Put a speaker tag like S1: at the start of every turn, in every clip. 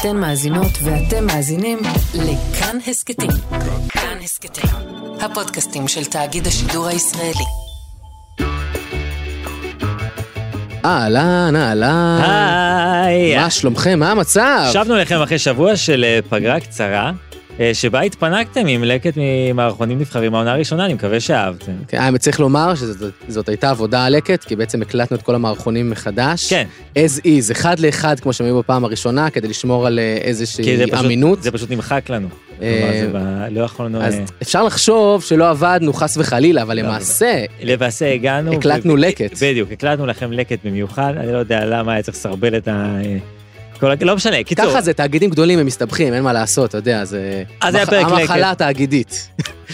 S1: אתן מאזינות ואתם מאזינים לכאן הסכתים. כאן הסכתים, הפודקאסטים של תאגיד השידור הישראלי.
S2: אהלן, אהלן.
S3: היי,
S2: מה שלומכם? מה המצב?
S3: שבנו אליכם אחרי שבוע של אה, פגרה קצרה, אה, שבה התפנקתם עם לקט ממערכונים נבחרים מהעונה הראשונה, אני מקווה שאהבתם.
S2: כן, האמת, צריך לומר שזאת הייתה עבודה עלקת, כי בעצם הקלטנו את כל המערכונים מחדש.
S3: כן,
S2: as is, אחד לאחד, כמו שהם היו בפעם הראשונה, כדי לשמור על אה,
S3: כי זה
S2: איזושהי
S3: פשוט-
S2: אמינות.
S3: זה פשוט נמחק לנו.
S2: אה,
S3: כלומר, זה ב- לא יכולנו...
S2: אז
S3: אה,
S2: אפשר לחשוב שלא עבדנו, חס וחלילה, אבל
S3: לא,
S2: למעשה,
S3: למעשה הגענו...
S2: הקלטנו
S3: ו-
S2: לקט.
S3: בדיוק, הקלטנו לכם לקט במיוחד, אני לא יודע למה היה צריך לסרבל את ה... אה, כל... ה- לא משנה, קיצור.
S2: ככה זה, תאגידים גדולים הם מסתבכים, אין מה לעשות, אתה יודע, זה...
S3: אז היה
S2: מח-
S3: פרק
S2: המחלה
S3: לקט.
S2: התאגידית.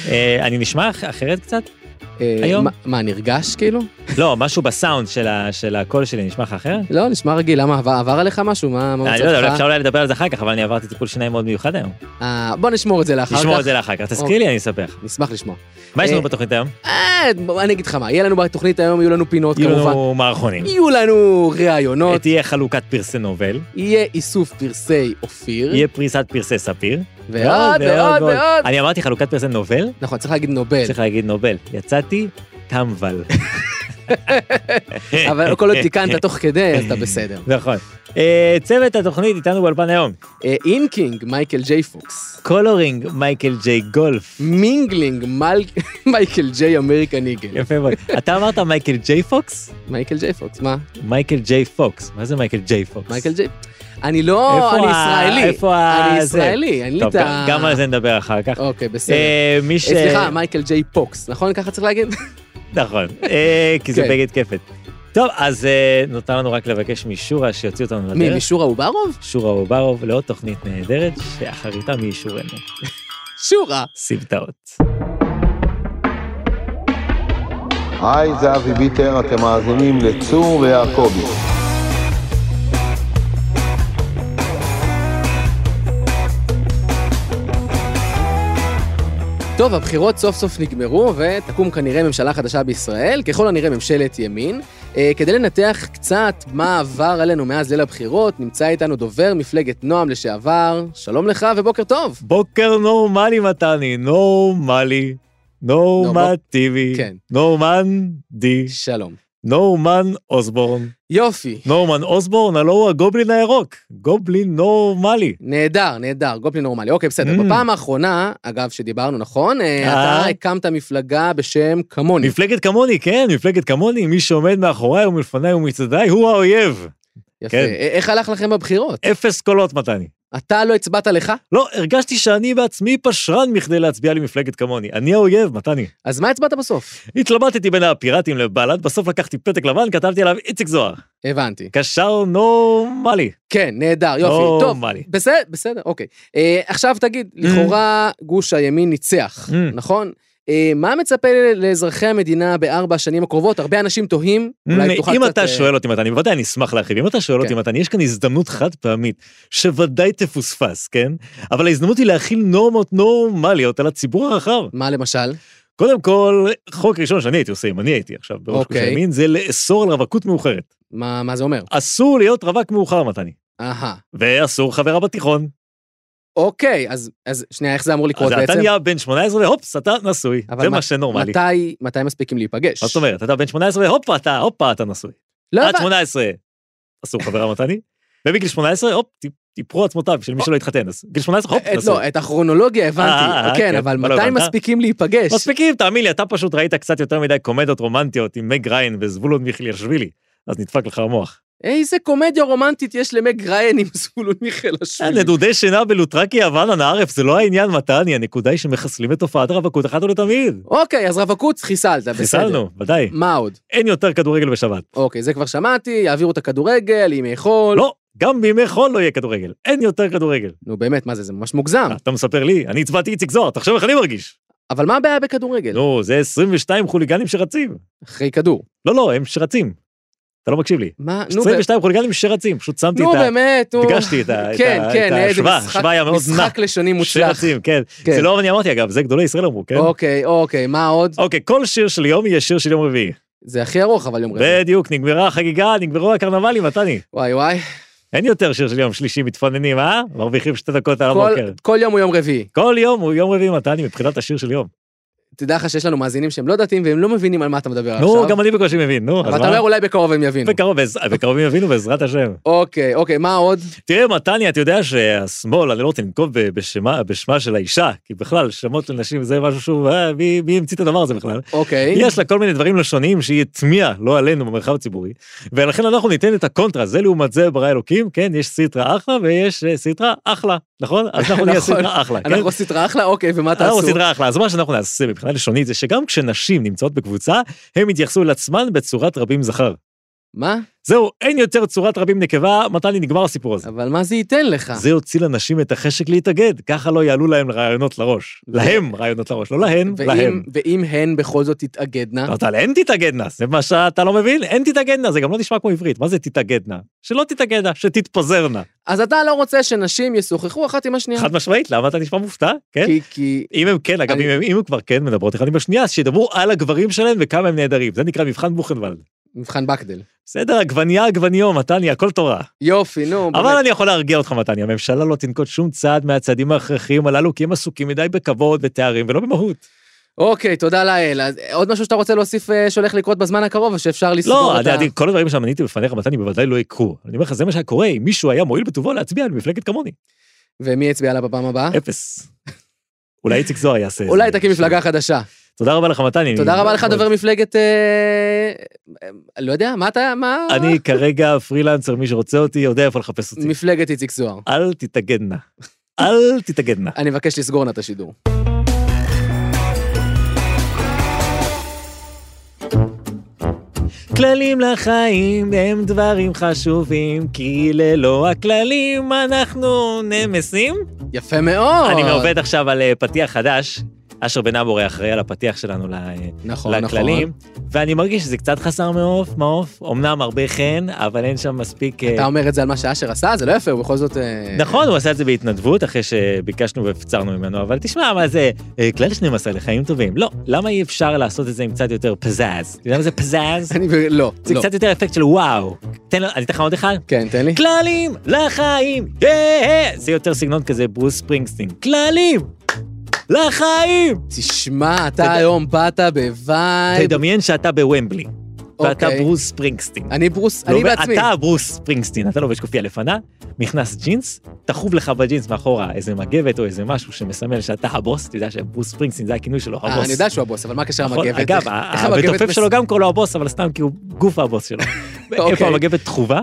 S3: אה, אני נשמע אח- אחרת קצת?
S2: אה,
S3: היום?
S2: מה- מה, נרגש כאילו?
S3: לא, משהו בסאונד של ה- של הקול שלי נשמע לך אחרת?
S2: לא, נשמע רגיל, למה עבר- עבר עליך משהו? מה מה
S3: אני
S2: מצבך?
S3: לא יודע, אבל אפשר אולי לדבר על זה אחר כך, אבל אני עברתי טיפול שיניים מאוד מיוחד היום.
S2: אה, בוא נשמור את זה לאחר כך.
S3: נשמור את זה לאחר כך, תזכירי לי, אני אספר לך.
S2: נשמח לשמוע.
S3: מה יש
S2: אה,
S3: לנו בתוכנית היום?
S2: אה, בוא, אני אגיד לך מה, יהיה לנו בתוכנית היום, יהיו לנו פינות
S3: יהיו
S2: כמובן.
S3: לנו מערכונים.
S2: יהיו לנו ראיונות,
S3: תהיה חלוקת פרסי נובל,
S2: יהיה איסוף פרסי אופיר,
S3: יהיה פריסת פרסי ספיר.
S2: ועוד ועוד ועוד.
S3: אני אמרתי חלוקת פרסי נובל,
S2: נכון, צריך להגיד נובל,
S3: צריך להגיד נובל. יצאתי טמבל.
S2: אבל כל עוד תיקנת תוך כדי, אז אתה בסדר.
S3: נכון. אה, צוות התוכנית איתנו באולפן היום.
S2: אה, אינקינג, מייקל ג'יי פוקס.
S3: קולורינג, מייקל ג'יי גולף.
S2: מינגלינג, מל- מייקל ג'יי אמריקן איגל.
S3: יפה מאוד. אתה אמרת מייקל ג'יי פוקס?
S2: מייקל ג'יי פוקס, מה?
S3: מייקל ג'יי פוקס. מה זה מייקל ג'יי פוקס?
S2: מייקל ג'יי... אני לא...
S3: איפה
S2: אני
S3: ה-
S2: ישראלי.
S3: איפה ה-
S2: אני
S3: זה?
S2: ישראלי, אין לי
S3: טוב,
S2: את ה...
S3: גם על זה נדבר אחר כך.
S2: אוקיי, בסדר.
S3: אה, מי ש...
S2: אה, סליחה, מייקל ג'יי פוקס, נכון? ככה צריך להגיד?
S3: נכון, אה, כי זה
S2: כן.
S3: בגד כיפת. טוב, אז אה, נותר לנו רק לבקש משורה שיוציא אותנו
S2: מי,
S3: לדרך.
S2: משורה אוברוב?
S3: שורה אוברוב לעוד תוכנית נהדרת, שאחריתה מי ישורנו.
S2: שורה.
S3: סבטאות.
S4: היי, זה אבי ביטר, אתם מאזינים לצור ויעקבי.
S2: טוב, הבחירות סוף סוף נגמרו, ותקום כנראה ממשלה חדשה בישראל, ככל הנראה ממשלת ימין. אה, כדי לנתח קצת מה עבר עלינו מאז ליל הבחירות, נמצא איתנו דובר מפלגת נועם לשעבר. שלום לך ובוקר טוב.
S3: בוקר נורמלי, מתני, נורמלי, נורמטיבי,
S2: כן.
S3: נורמנדי,
S2: שלום.
S3: נורמן אוסבורן.
S2: יופי.
S3: נורמן אוסבורן, הלו הוא הגובלין הירוק, גובלין נורמלי.
S2: נהדר, נהדר, גופלין נורמלי. אוקיי, בסדר.
S3: Mm.
S2: בפעם האחרונה, אגב, שדיברנו, נכון? אה,
S3: אה.
S2: אתה הקמת מפלגה בשם כמוני.
S3: מפלגת כמוני, כן, מפלגת כמוני, מי שעומד מאחוריי ומלפניי ומצדדיי הוא האויב.
S2: יפה.
S3: כן.
S2: אה, איך הלך לכם בבחירות?
S3: אפס קולות, מתני.
S2: אתה לא הצבעת לך?
S3: לא, הרגשתי שאני בעצמי פשרן מכדי להצביע למפלגת כמוני. אני האויב, מתני.
S2: אז מה הצבעת בסוף?
S3: התלבטתי בין הפיראטים לבל"ד, בסוף לקחתי פתק לבן, כתבתי עליו איציק זוהר.
S2: הבנתי.
S3: קשר נורמלי.
S2: כן, נהדר,
S3: לא.
S2: יופי, טוב.
S3: נורמלי.
S2: בסדר, בסדר, אוקיי. אה, עכשיו תגיד, לכאורה גוש הימין ניצח,
S3: Mm.
S2: נכון? אה, מה מצפה לאזרחי המדינה בארבע השנים הקרובות? הרבה אנשים תוהים, אולי תוכל
S3: Mm, אם
S2: קצת...
S3: אתה
S2: אה,
S3: שואל אותי מתני, בוודאי אני אשמח להרחיב, אם אתה שואל אותי
S2: כן.
S3: מתני, יש כאן הזדמנות חד פעמית, שוודאי תפוספס, כן? אבל ההזדמנות היא להכיל נורמות נורמליות על הציבור הרחב.
S2: מה למשל?
S3: קודם כל, חוק ראשון שאני הייתי עושה, אם אני הייתי עכשיו בראש גוש
S2: אוקיי.
S3: הימין, זה לאסור על רווקות מאוחרת.
S2: מה מה זה אומר?
S3: אסור להיות רווק מאוחר, מתני.
S2: אהה.
S3: ואסור חברה בתיכון.
S2: אוקיי, אז אז שנייה, איך זה אמור לקרות
S3: אז אתה
S2: בעצם?
S3: נהיה בן 18, הופס, אתה נשוי.
S2: אבל
S3: זה
S2: מה-
S3: מה שנורמלי.
S2: מתי- מתי מספיקים להיפגש?
S3: מה זאת אומרת? אתה בן 18, הופה, אתה, הופה, אתה נשוי.
S2: לא,
S3: עד
S2: אבל-
S3: 18, אסור חברה מתני. ומגיל 18, הופ, ת- תיפרו עצמותיו של מי שלא התחתן. אז גיל 18, הופ,
S2: את-
S3: נשוי.
S2: לא, את הכרונולוגיה
S3: אה,
S2: הבנתי,
S3: אה,
S2: כן,
S3: כן,
S2: אבל
S3: מה לא
S2: מתי
S3: הבנת?
S2: מספיקים להיפגש?
S3: מספיקים, תאמין לי, אתה פשוט ראית קצת יותר מדי קומדיות רומנטיות עם מג ריין וזבולון מיכליאשווילי, אז נדפק לך המוח.
S2: איזה קומדיה רומנטית יש למג ריין עם זבולון מיכאל
S3: אה,
S2: השביעי.
S3: נדודי שינה בלוטרקי יוון אנא ערף, זה לא העניין מתני, הנקודה היא שמחסלים את תופעת הרווקות אחת ולתמיד.
S2: אוקיי, אז רווקות חיסלת, בסדר.
S3: חיסלנו, ודאי.
S2: מה עוד?
S3: אין יותר כדורגל בשבת.
S2: אוקיי, זה כבר שמעתי, יעבירו את הכדורגל, ימי חול.
S3: לא, גם בימי חול לא יהיה כדורגל. אין יותר כדורגל.
S2: נו באמת, מה זה, זה ממש מוגזם.
S3: אתה מספר לי, אני הצבעתי איציק זוהר, תחשוב איך אני מרגיש.
S2: אבל מה הבעיה בכדורגל?
S3: נו, זה 22 חוליגנים שרצים.
S2: אחרי כדור.
S3: לא, לא, הם שרצים. אתה לא מקשיב לי.
S2: מה, נו, ב-
S3: 22 חוליגנים שרצים, פשוט שמתי
S2: נו
S3: את ה...
S2: באמת, נו.
S3: הדגשתי את ה- את
S2: כן,
S3: ה- את
S2: כן, אה, זה
S3: ההשוואה,
S2: משחק-
S3: ההשוואה היה מאוד נע.
S2: משחק לשוני מוצלח.
S3: שרצים, כן.
S2: כן.
S3: זה לא אני אמרתי, אגב, זה גדולי ישראל אמרו, כן?
S2: אוקיי, אוקיי, מה עוד?
S3: אוקיי, כל שיר של יום יהיה שיר של יום רביעי.
S2: זה הכי ארוך, אבל יום רביעי.
S3: בדיוק, נגמרה החגיגה, נגמרו הקרנבלים, מתני.
S2: וואי וואי.
S3: אין יותר שיר של יום שלישי, מתפננים, אה? מרוויחים שתי דקות על
S2: כל,
S3: הבוקר.
S2: כל יום הוא יום רביעי.
S3: כל יום הוא יום רביעי מתני מבחינת השיר של יום.
S2: תדע לך שיש לנו מאזינים שהם לא דתיים והם לא מבינים על מה אתה מדבר
S3: נו,
S2: עכשיו.
S3: גם אני בקושי מבין, נו, אז
S2: אבל אתה לא אומר
S3: מה?
S2: אולי בקרוב הם יבינו.
S3: בקרוב, בעז- בקרוב הם יבינו בעזרת השם.
S2: אוקיי, אוקיי, מה עוד?
S3: תראה, מתניה, אתה יודע שהשמאל, אני לא רוצה לנקוב ב- בשמה, בשמה של האישה, כי בכלל, שמות לנשים זה משהו שהוא, אה, מי, מי המציא את הדבר הזה בכלל?
S2: אוקיי.
S3: יש לה כל מיני דברים לשוניים שהיא הטמיעה, לא עלינו, במרחב הציבורי, ולכן אנחנו ניתן את הקונטרה, זה לעומת זה ברא אלוקים, כן, יש סיטרה אחלה ויש אה, סיטרה אחלה, נכון? אז אנחנו נהיה
S2: נכון.
S3: סיטרה אחלה, כן?
S2: אנחנו סדרה אחלה, אוקיי, ומה
S3: אנחנו
S2: תעשו?
S3: סדרה אחלה, אז מה שאנחנו נעשה מבחינה לשונית זה שגם כשנשים נמצאות בקבוצה, הן יתייחסו לעצמן בצורת רבים זכר.
S2: מה?
S3: זהו, אין יותר צורת רבים נקבה, מתני נגמר הסיפור הזה.
S2: אבל מה זה ייתן לך?
S3: זה יוציא לנשים את החשק להתאגד, ככה לא יעלו להם רעיונות לראש. להם רעיונות לראש, לא להן, להם.
S2: ואם- אה? ואם הן בכל זאת תתאגדנה?
S3: אמרת לה, הן תתאגדנה, זה מה שאתה לא מבין? הן תתאגדנה, זה גם לא נשמע כמו עברית, מה זה תתאגדנה? שלא תתאגדנה, שתתפזרנה.
S2: אז אתה לא רוצה שנשים ישוחחו אחת עם השנייה?
S3: חד משמעית, למה אתה נשמע מופתע? כן?
S2: כי, כי...
S3: אם הם כן, אגב,
S2: אני-
S3: אם הם- אם הם כבר כן מדברות אחד עם השנייה, אז שידברו על הגברים שלהם וכמה הם נהדרים, זה נקרא מבחן בוכנוולד.
S2: מבחן בקדל.
S3: בסדר, עגבנייה, עגבניו, מתניה, הכל תורה.
S2: יופי, נו,
S3: אבל
S2: באמת.
S3: אני יכול להרגיע אותך, מתניה, הממשלה לא תנקוט שום צעד מהצעדים ההכרחיים הללו, כי הם עסוקים מדי בכבוד, בתארים ולא במהות.
S2: אוקיי, תודה לאל. אז עוד משהו שאתה רוצה להוסיף אה, שהולך לקרות בזמן הקרוב, או שאפשר לסגור
S3: לא,
S2: את
S3: אני,
S2: ה...
S3: אני, כל הדברים שמניתי בפניך, מתני, בוודאי לא יקרו. אני אומר לך, זה מה שהיה קורה אם מישהו היה מועיל בטובו להצביע למפלגת כמוני.
S2: ומי יצביע לה בפעם הבאה?
S3: אה, אפס. אולי איציק זוהר יעשה את זה.
S2: אה. אולי תקים מפלגה
S3: אה,
S2: חדשה.
S3: תודה רבה לך, מתני.
S2: תודה
S3: אני-
S2: רבה לך,
S3: אה.
S2: דובר מפלגת... אה, אה, לא יודע, מה אתה... מה...
S3: אני כרגע פרילנסר, מי שרוצה אותי יודע איפה לחפש אותי.
S2: מפלגת איציק זוהר.
S3: אל תתאגדנה. אל תתאגדנה.
S2: אני מבקש לסגור נא את השידור.
S3: כללים לחיים הם דברים חשובים, כי ללא הכללים אנחנו נמסים.
S2: יפה מאוד.
S3: אני עובד עכשיו על אה, פתיח חדש. אשר בן אמורי אחראי על הפתיח שלנו ל- אה,
S2: נכון,
S3: לכללים, ואני מרגיש שזה קצת חסר מעוף, מעוף, אמנם הרבה חן, אבל אין שם מספיק... אה,
S2: אתה אומר את זה על מה שאשר עשה? זה לא יפה, הוא בכל זאת... אה,
S3: נכון, הוא עשה את זה בהתנדבות, אחרי שביקשנו והפצרנו ממנו, אבל תשמע, מה זה, אה, כלל 12 לחיים טובים. לא, למה אי אפשר לעשות את זה עם קצת יותר פזז? אתה יודע מה זה פזז?
S2: אני... ב- לא,
S3: זה
S2: לא.
S3: קצת יותר אפקט של וואו. תן לו, אני אתן לך עוד אחד?
S2: כן, תן לי.
S3: כללים לחיים, אה, זה יותר סגנון כזה ברוס ספרינגסטין. כללים לחיים!
S2: תשמע, אתה
S3: תד-
S2: היום באת בווייב.
S3: תדמיין שאתה בוומבלי, ואתה
S2: אוקיי.
S3: ברוס ספרינגסטין.
S2: אני ברוס,
S3: לא,
S2: אני בעצמי. אה,
S3: אתה ברוס ספרינגסטין, אתה לובש קופייה לבנה, נכנס ג'ינס, תחוב לך בג'ינס מאחורה איזה מגבת או איזה משהו שמסמל שאתה הבוס, אתה יודע שברוס ספרינגסטין זה הכינוי שלו,
S2: אה,
S3: הבוס.
S2: אני יודע שהוא הבוס, אבל מה קשר
S3: נכון?
S2: המגבת?
S3: אגב,
S2: איך- איך המגבת
S3: המתופף
S2: מס-
S3: שלו גם קורא לו הבוס, אבל סתם כי הוא גוף הבוס שלו. איפה
S2: אוקיי.
S3: המגבת תחובה?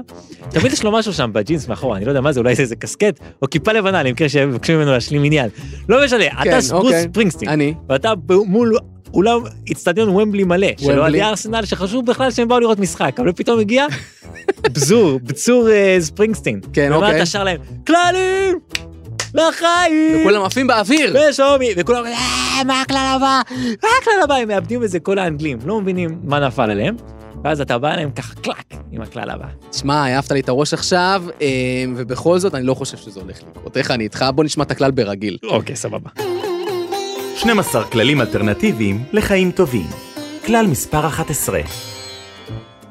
S3: תמיד יש לו משהו שם בג'ינס מאחורה, אני לא יודע מה זה, אולי זה איזה קסקט, או כיפה לבנה, למקרה שמבקשים ממנו להשלים עניין. לא משנה, אתה ברוס
S2: אוקיי.
S3: ספרינגסטין.
S2: אני.
S3: ואתה ב- מול אולם אצטדיון ומבלי מלא, שלא על
S2: ומבלי.
S3: ידי ארסנל, שחשוב בכלל שהם באו לראות משחק, אבל פתאום הגיע בזור, בצור אה, ספרינגסטין.
S2: כן,
S3: ומה
S2: אוקיי.
S3: אתה שר להם? כללים! לחיים!
S2: כולם עפים באוויר.
S3: ושומי, וכולם אומרים, "אה, מה הכלל הבא? מה הכלל הבא? הם מאבדים את זה כל האנגלים, לא מבינים מה נפל עליהם, ואז אתה בא אליהם ככה קלק עם הכלל הבא.
S2: תשמע, העפת לי את הראש עכשיו, אה, ובכל זאת, אני לא חושב שזה הולך לקרות. איך אני איתך? בוא נשמע את הכלל ברגיל.
S3: אוקיי, סבבה.
S5: 12 כללים אלטרנטיביים לחיים טובים. כלל מספר 11.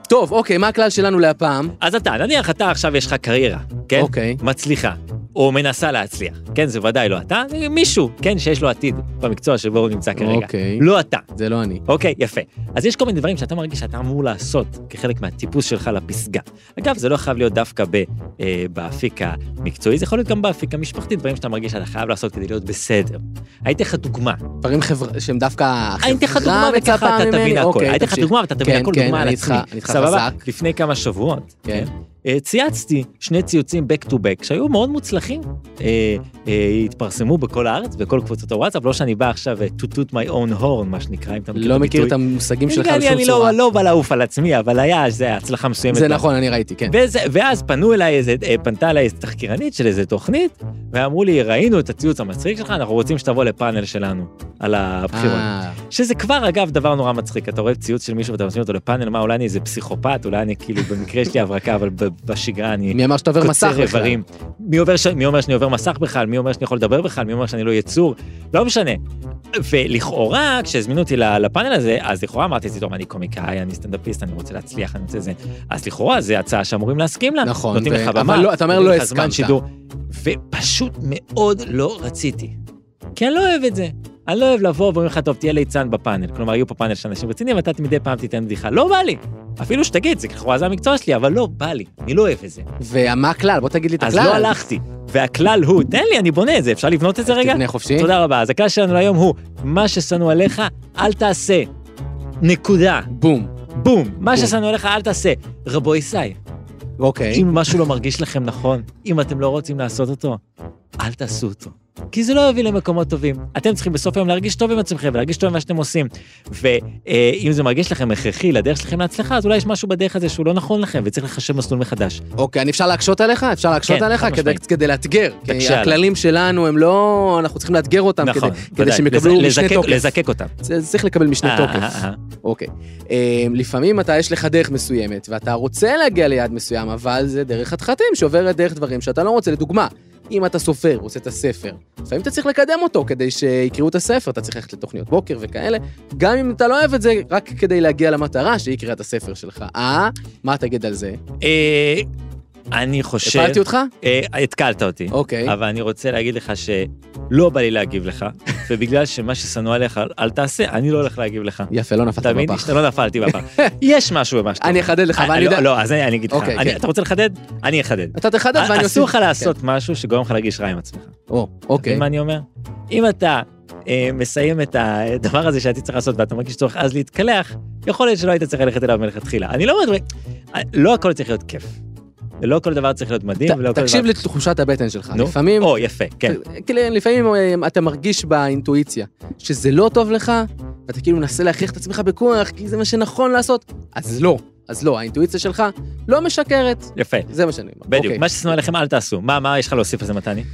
S2: טוב, אוקיי, מה הכלל שלנו להפעם?
S3: אז אתה, נניח אתה עכשיו יש לך קריירה, כן?
S2: אוקיי.
S3: מצליחה, או מנסה להצליח, כן? זה ודאי לא אתה, זה מישהו, כן? שיש לו עתיד במקצוע שבו הוא נמצא כרגע.
S2: אוקיי.
S3: לא אתה.
S2: זה לא אני.
S3: אוקיי, יפה. אז יש כל מיני דברים שאתה מרגיש שאתה אמור לעשות כחלק מהטיפוס שלך לפסגה. אגב, זה לא חייב להיות דווקא ב, אה, באפיק המקצועי, זה יכול להיות גם באפיק המשפחתי, דברים שאתה מרגיש שאתה חייב לעשות כדי להיות בסדר. הייתי לך דוגמה,
S2: דברים חברה- שהם דווקא החברה
S3: אני אתן לך דוגמה
S2: מצפה
S3: וככה אתה
S2: ממני.
S3: תבין הכל.
S2: אוקיי,
S3: אני אתן לך
S2: תמשיך.
S3: דוגמה ואתה תבין
S2: כן,
S3: הכל
S2: כן,
S3: דוגמה על
S2: אני איתך,
S3: עצמי.
S2: אני איתך
S3: סבבה?
S2: חזק.
S3: לפני כמה שבועות,
S2: כן.
S3: כן, אה, צייצתי שני ציוצים back to back שהיו מאוד מוצלחים. אה, אה, התפרסמו בכל הארץ, בכל קבוצות הוואטסאפ, לא שאני בא עכשיו אה, to toot my own horn, מה שנקרא, אם אתה מכיר את
S2: לא מכיר
S3: הביטוי.
S2: את המושגים שלך
S3: אני-
S2: בשום
S3: אני
S2: צורה. נכון.
S3: לא- לא בא לעוף על עצמי, אבל היה זה הצלחה מסוימת.
S2: זה נכון, אני ראיתי, כן.
S3: וזה, ואז פנו אליי איזה, אה, פנתה אליי איזה תחקירנית של איזה תוכנית, ואמרו לי, ראינו את הציוץ המצחיק שלך, אנחנו רוצים שתבוא לפאנל שלנו על הבחירות.
S2: אה,
S3: שזה כבר, אגב, דבר נורא מצחיק. אתה רואה ציוץ של מישהו ואתה מזמין אותו לפאנל, מה, אולי אני איזה פסיכופת, אולי אני כאילו, במקרה יש לי הברקה, אבל ב- בשגרה אני...
S2: מי אמר שאתה עובר מסך
S3: קוצר
S2: בכלל?
S3: איברים. מי, עובר ש... מי אומר שאני עובר מסך בכלל? מי אומר שאני יכול לדבר בכלל? מי אומר שאני לא יצור? לא משנה. ולכאורה, כשהזמינו אותי ל- לפאנל הזה, אז לכאורה אמרתי, "טוב, אני קומיקאי, אני סטנדאפיסט, אני רוצה להצליח, אני רוצה זה. אז לכאורה, זו הצעה שאמורים להסכים לה.
S2: נכון,
S3: נותנים
S2: ו-
S3: לך
S2: אבל
S3: במה,
S2: לא- אתה אומר,
S3: נותנים
S2: לא
S3: לך זמן
S2: הסכמת.
S3: שידור. ופשוט מאוד לא רציתי. כי אני לא אוהב את זה. אני לא אוהב לבוא ואומרים לך, טוב, תהיה ליצן בפאנל. כלומר, יהיו פה פאנל של אנשים רציניים, ואתה מדי פעם תיתן בדיחה. לא בא לי. אפילו שתגיד, זה לכאורה זה המקצוע שלי, אבל לא בא לי. אני לא אוהב את זה.
S2: ומה הכלל? בוא תגיד לי את הכלל.
S3: אז לא הלכתי. והכלל הוא, תן לי, אני בונה את זה, אפשר לבנות את זה רגע?
S2: תבנה חופשי.
S3: תודה רבה. אז הכלל שלנו היום הוא, מה ששנוא עליך, אל תעשה. נקודה.
S2: בום.
S3: בום. מה ששנוא עליך, אל תעשה. רבו ישי,
S2: אוקיי.
S3: אם משהו לא מרגיש לכם נכון, אם אתם לא רוצים לעשות אותו, אל תעשו אותו. כי זה לא יוביל למקומות טובים. אתם צריכים בסוף היום להרגיש טוב עם עצמכם, להרגיש טוב עם מה שאתם עושים. ואם זה מרגיש לכם הכרחי לדרך שלכם להצלחה, אז אולי יש משהו בדרך הזה שהוא לא נכון לכם, וצריך לחשב מסלול מחדש.
S2: אוקיי, אני אפשר להקשות עליך? אפשר להקשות
S3: כן,
S2: עליך?
S3: חד
S2: כדי-
S3: משמעית.
S2: כדי לאתגר. כי
S3: תקשה עליי.
S2: הכללים שלנו הם לא... אנחנו צריכים לאתגר אותם
S3: נכון,
S2: כדי- כדי
S3: ודאי.
S2: שהם יקבלו
S3: לז-
S2: משנה
S3: לזקק-
S2: תוקף.
S3: לזקק אותם.
S2: זה- זה צריך לקבל משנה
S3: אה,
S2: תוקף.
S3: אה, אה.
S2: אוקיי. אה, לפעמים אתה, יש לך דרך מסוימת, ואתה רוצה להגיע ליעד מסוים, אבל זה דרך חתחתים שעוברת דרך דברים שאתה לא רוצה. לדוגמה, אם אתה סופר, רוצה את הספר, לפעמים אתה צריך לקדם אותו כדי שיקראו את הספר, אתה צריך ללכת לתוכניות בוקר וכאלה, גם אם אתה לא אוהב את זה, רק כדי להגיע למטרה שהיא קריאת הספר שלך. אה? מה תגיד על זה?
S3: אה, אני חושב...
S2: הפלתי אותך?
S3: אה, התקלת אותי.
S2: אוקיי.
S3: אבל אני רוצה להגיד לך שלא בא לי להגיב לך, ובגלל שמה ששנוא עליך אל תעשה, אני לא הולך להגיב לך.
S2: יפה, לא נפלת
S3: אתה מבין?
S2: בפח.
S3: שאתה לא נפלתי בפח. יש משהו במה שאתה
S2: אני
S3: אומר.
S2: אחדד לך,
S3: אה,
S2: אבל אני
S3: לא,
S2: יודע-
S3: לא, אז אני אני אגיד לך.
S2: אוקיי,
S3: אני-
S2: כן.
S3: אתה רוצה לחדד? אני אחדד. אה,
S2: אתה תחדד ואני כן. אוסיף.
S3: אסור לך לעשות משהו שגורם לך להרגיש רע עם עצמך. אתה
S2: כן. או,
S3: מבין
S2: אוקיי.
S3: מה אני אומר? אם אתה אה, מסיים את הדבר הזה שהייתי צריך לעשות ואתה מרגיש צורך אז להתקלח, יכול להיות שלא היית צריך ללכת אליו מלכתחילה. אני לא אומר, לא הכל צריך להיות כיף. לא כל דבר צריך להיות מדהים, ולא
S2: ת-
S3: כל דבר...
S2: תקשיב לתחושת הבטן שלך.
S3: נו.
S2: לפעמים...
S3: או, יפה, כן.
S2: כאילו, לפעמים אה, אתה מרגיש באינטואיציה שזה לא טוב לך, ואתה כאילו מנסה להכריח את עצמך בכוח, כי זה מה שנכון לעשות, אז לא. אז לא, האינטואיציה שלך לא משקרת.
S3: יפה.
S2: זה מה שאני אומר.
S3: בדיוק.
S2: אוקיי.
S3: מה ששנוא עליכם אל תעשו. מה, מה יש לך להוסיף על זה, מתני?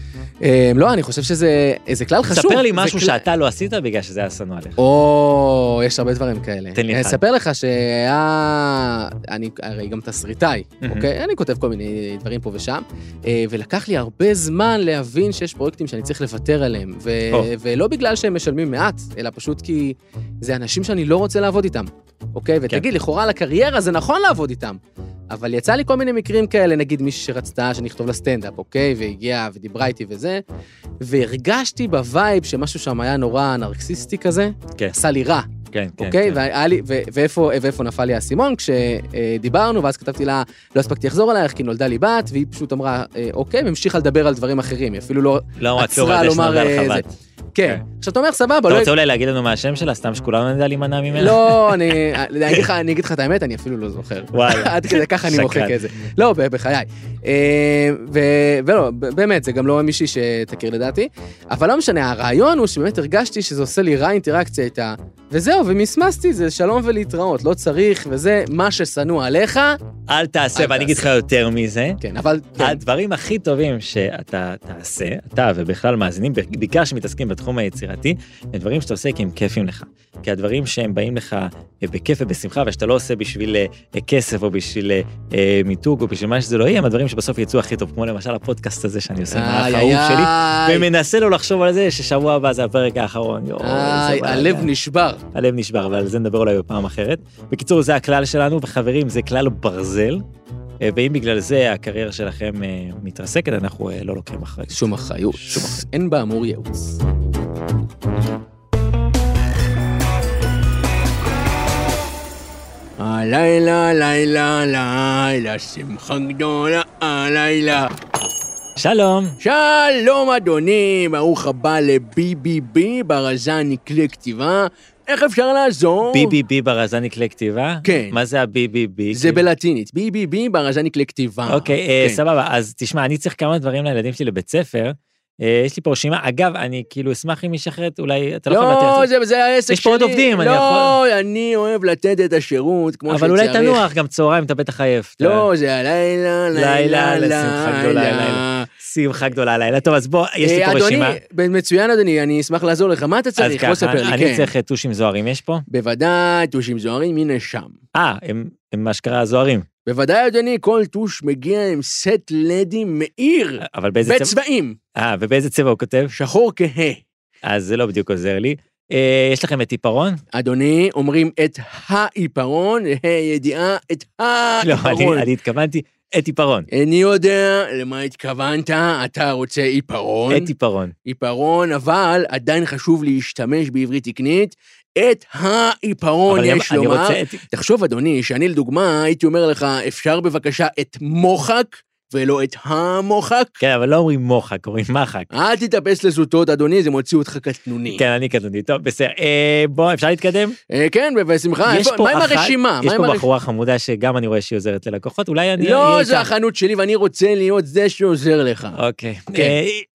S2: אה, לא, אני חושב שזה איזה כלל חשוב.
S3: ספר לי
S2: זה
S3: משהו
S2: כל-
S3: שאתה לא עשית בגלל שזה היה שנוא עליך.
S2: או, יש הרבה דברים כאלה.
S3: תן לי
S2: אני
S3: אחד.
S2: אספר לך שהיה... אני הרי גם תסריטאי,
S3: Mhm.
S2: אוקיי? אני כותב כל מיני דברים פה ושם, אה, ולקח לי הרבה זמן להבין שיש פרויקטים שאני צריך לוותר עליהם, ו-
S3: או.
S2: ולא בגלל שהם משלמים מעט, אלא פשוט כי זה אנשים שאני לא רוצה לעבוד איתם, אוקיי?
S3: כן.
S2: ותגיד, לכאורה לקריירה זה נכון לעבוד איתם, אבל יצא לי כל מיני מקרים כאלה, נגיד מישהי שרצתה שאני אכתוב לה סטנדאפ, אוקיי? והגיעה ודיברה איתי וזה, והרגשתי בווייב שמשהו שם היה נורא נרקסיסטי כזה,
S3: כן.
S2: עשה לי רע,
S3: כן, כן.
S2: אוקיי?
S3: כן.
S2: והיה לי- ו- ואיפה ואיפה נפל לי האסימון? כשדיברנו, ואז כתבתי לה, לא הספקתי לחזור אלייך, כי נולדה לי בת, והיא פשוט אמרה, "אה, אוקיי, והמשיכה לדבר על דברים אחרים, היא אפילו לא...
S3: לא אמרת
S2: עצרה
S3: תיאוריה, יש
S2: לומר,
S3: נודע
S2: אה,
S3: לך
S2: זה-
S3: בת.
S2: כן. עכשיו, אתה אומר, סבבה,
S3: אתה
S2: לא...
S3: רוצה אולי להגיד לנו מה השם שלה, סתם שכולנו נדע להימנע ממנה?
S2: לא, אני אני אגיד לך- אני אגיד לך את האמת, אני אפילו לא זוכר.
S3: וואלה.
S2: עד כדי ככה אני מוחק
S3: שקרן.
S2: את זה. לא, ב- בחיי. אה, ו- ולא, ב- באמת, זה גם לא מישהי שתכיר לדעתי. אבל לא משנה, הרעיון הוא שבאמת הרגשתי שזה עושה לי רע אינטראקציה איתה, וזהו, ומסמסתי את זה, שלום ולהתראות, לא צריך, וזה מה ששנוא עליך.
S3: אל תעשה,
S2: אל
S3: ואני אגיד לך יותר מזה.
S2: כן, אבל... כן.
S3: הדברים הכי טובים שאתה תעשה, אתה ובכלל מאזינים, בעיקר שמתעסקים בתחום היצירתי, הם דברים שאתה עושה כי הם כיפים לך. כי הדברים שהם באים לך אה, בכיף ובשמחה, ושאתה לא עושה בשביל אה, אה, כסף או בשביל אה, אה, מיתוג או בשביל מה שזה לא יהיה, הם הדברים שבסוף יצאו הכי טוב, כמו למשל הפודקאסט הזה שאני עושה, עם האח
S2: איי,
S3: האהוב
S2: איי,
S3: שלי,
S2: איי.
S3: ומנסה לא לחשוב על זה ששבוע הבא זה הפרק האחרון. יואו,
S2: איי,
S3: איזה
S2: הלב
S3: בלאגן.
S2: נשבר.
S3: הלב נשבר, אבל על זה נדבר אולי בפעם אחרת. בקיצור, זה הכלל שלנו, וחברים, זה כלל ברזל, אה, ואם בגלל זה הקריירה שלכם אה, מתרסקת, אנחנו אה, לא לוקחים אחריות.
S2: שום אחריות. אין באמור ייעוץ. הלילה, לילה, לילה, שמחה גדולה, הלילה.
S3: שלום,
S2: שלום אדוני, ברוך הבא ל-BBB, ברזה נקלי כתיבה. איך אפשר לעזור?
S3: BBB ברזני כלי כתיבה?
S2: כן.
S3: מה זה ה-BBB?
S2: זה בלטינית, BBB, ברזה נקלי כתיבה.
S3: כאילו- אוקיי, אה,
S2: כן.
S3: סבבה, אז תשמע, אני צריך כמה דברים לילדים שלי לבית ספר. אה, יש לי פה רשימה, אגב, אני כאילו אשמח אם מישהי אחרת, אולי אתה לא יכול לתת.
S2: לא, זה- זה העסק שלי.
S3: יש פה עוד עובדים, אני
S2: לא,
S3: יכול-
S2: אני אוהב לתת את השירות כמו
S3: אבל אולי
S2: שצריך.
S3: תנוח, גם צהריים, אתה בטח עייף. אתה-
S2: לא, זה לא, הלילה,
S3: כן.
S2: לילה,
S3: לילה, לשמחה גדולה, לילה. שמחה גדולה, לילה טוב, אז בוא, יש לי
S2: אה,
S3: פה רשימה.
S2: אדוני, מצוין אדוני, אני אשמח לעזור לך. מה אתה
S3: אז
S2: צריך? בוא
S3: ככה,
S2: ספר לי,
S3: אני
S2: כן.
S3: צריך אה, טושים זוהרים, יש פה?
S2: בוודאי, טושים זוהרים, הנה שם.
S3: אה, הם הם מה שקרה זוהרים.
S2: בוודאי, אדוני, כל טוש מגיע עם סט לדים מאיר,
S3: אבל באיזה צבע...
S2: בצבעים,
S3: אה, ובאיזה צבע הוא כותב?
S2: שחור כהה.
S3: אז זה לא בדיוק עוזר לי. אה, יש לכם את עיפרון?
S2: אדוני, אומרים את העיפרון, ה' ידיעה, את
S3: לא,
S2: העיפרון.
S3: אני- אני התכוונתי את עיפרון.
S2: איני יודע למה התכוונת, אתה רוצה עיפרון.
S3: את עיפרון.
S2: עיפרון, אבל עדיין חשוב להשתמש בעברית תקנית. את העיפרון,
S3: אבל אני- אמ-,
S2: יש
S3: אני
S2: לומר.
S3: רוצה את...
S2: תחשוב, אדוני, שאני לדוגמה הייתי אומר לך, אפשר בבקשה את מוחק ולא את המוחק?
S3: כן, אבל לא אומרים מוחק, אומרים מחק.
S2: אל תתאפס לזוטות, אדוני, זה מוציא אותך קטנוני.
S3: כן, אני קטנוני. טוב, בסדר. אה, בוא, אפשר להתקדם?
S2: אה, כן, בשמחה.
S3: יש
S2: איפה-
S3: פה
S2: מה עם
S3: אחת-
S2: הרשימה?
S3: יש
S2: מה עם
S3: פה
S2: הרש-
S3: בחורה חמודה שגם אני רואה שהיא עוזרת ללקוחות, אולי אני...
S2: לא,
S3: אני
S2: זו
S3: איתך.
S2: החנות שלי ואני רוצה להיות זה שעוזר לך.
S3: אוקיי.
S2: כן.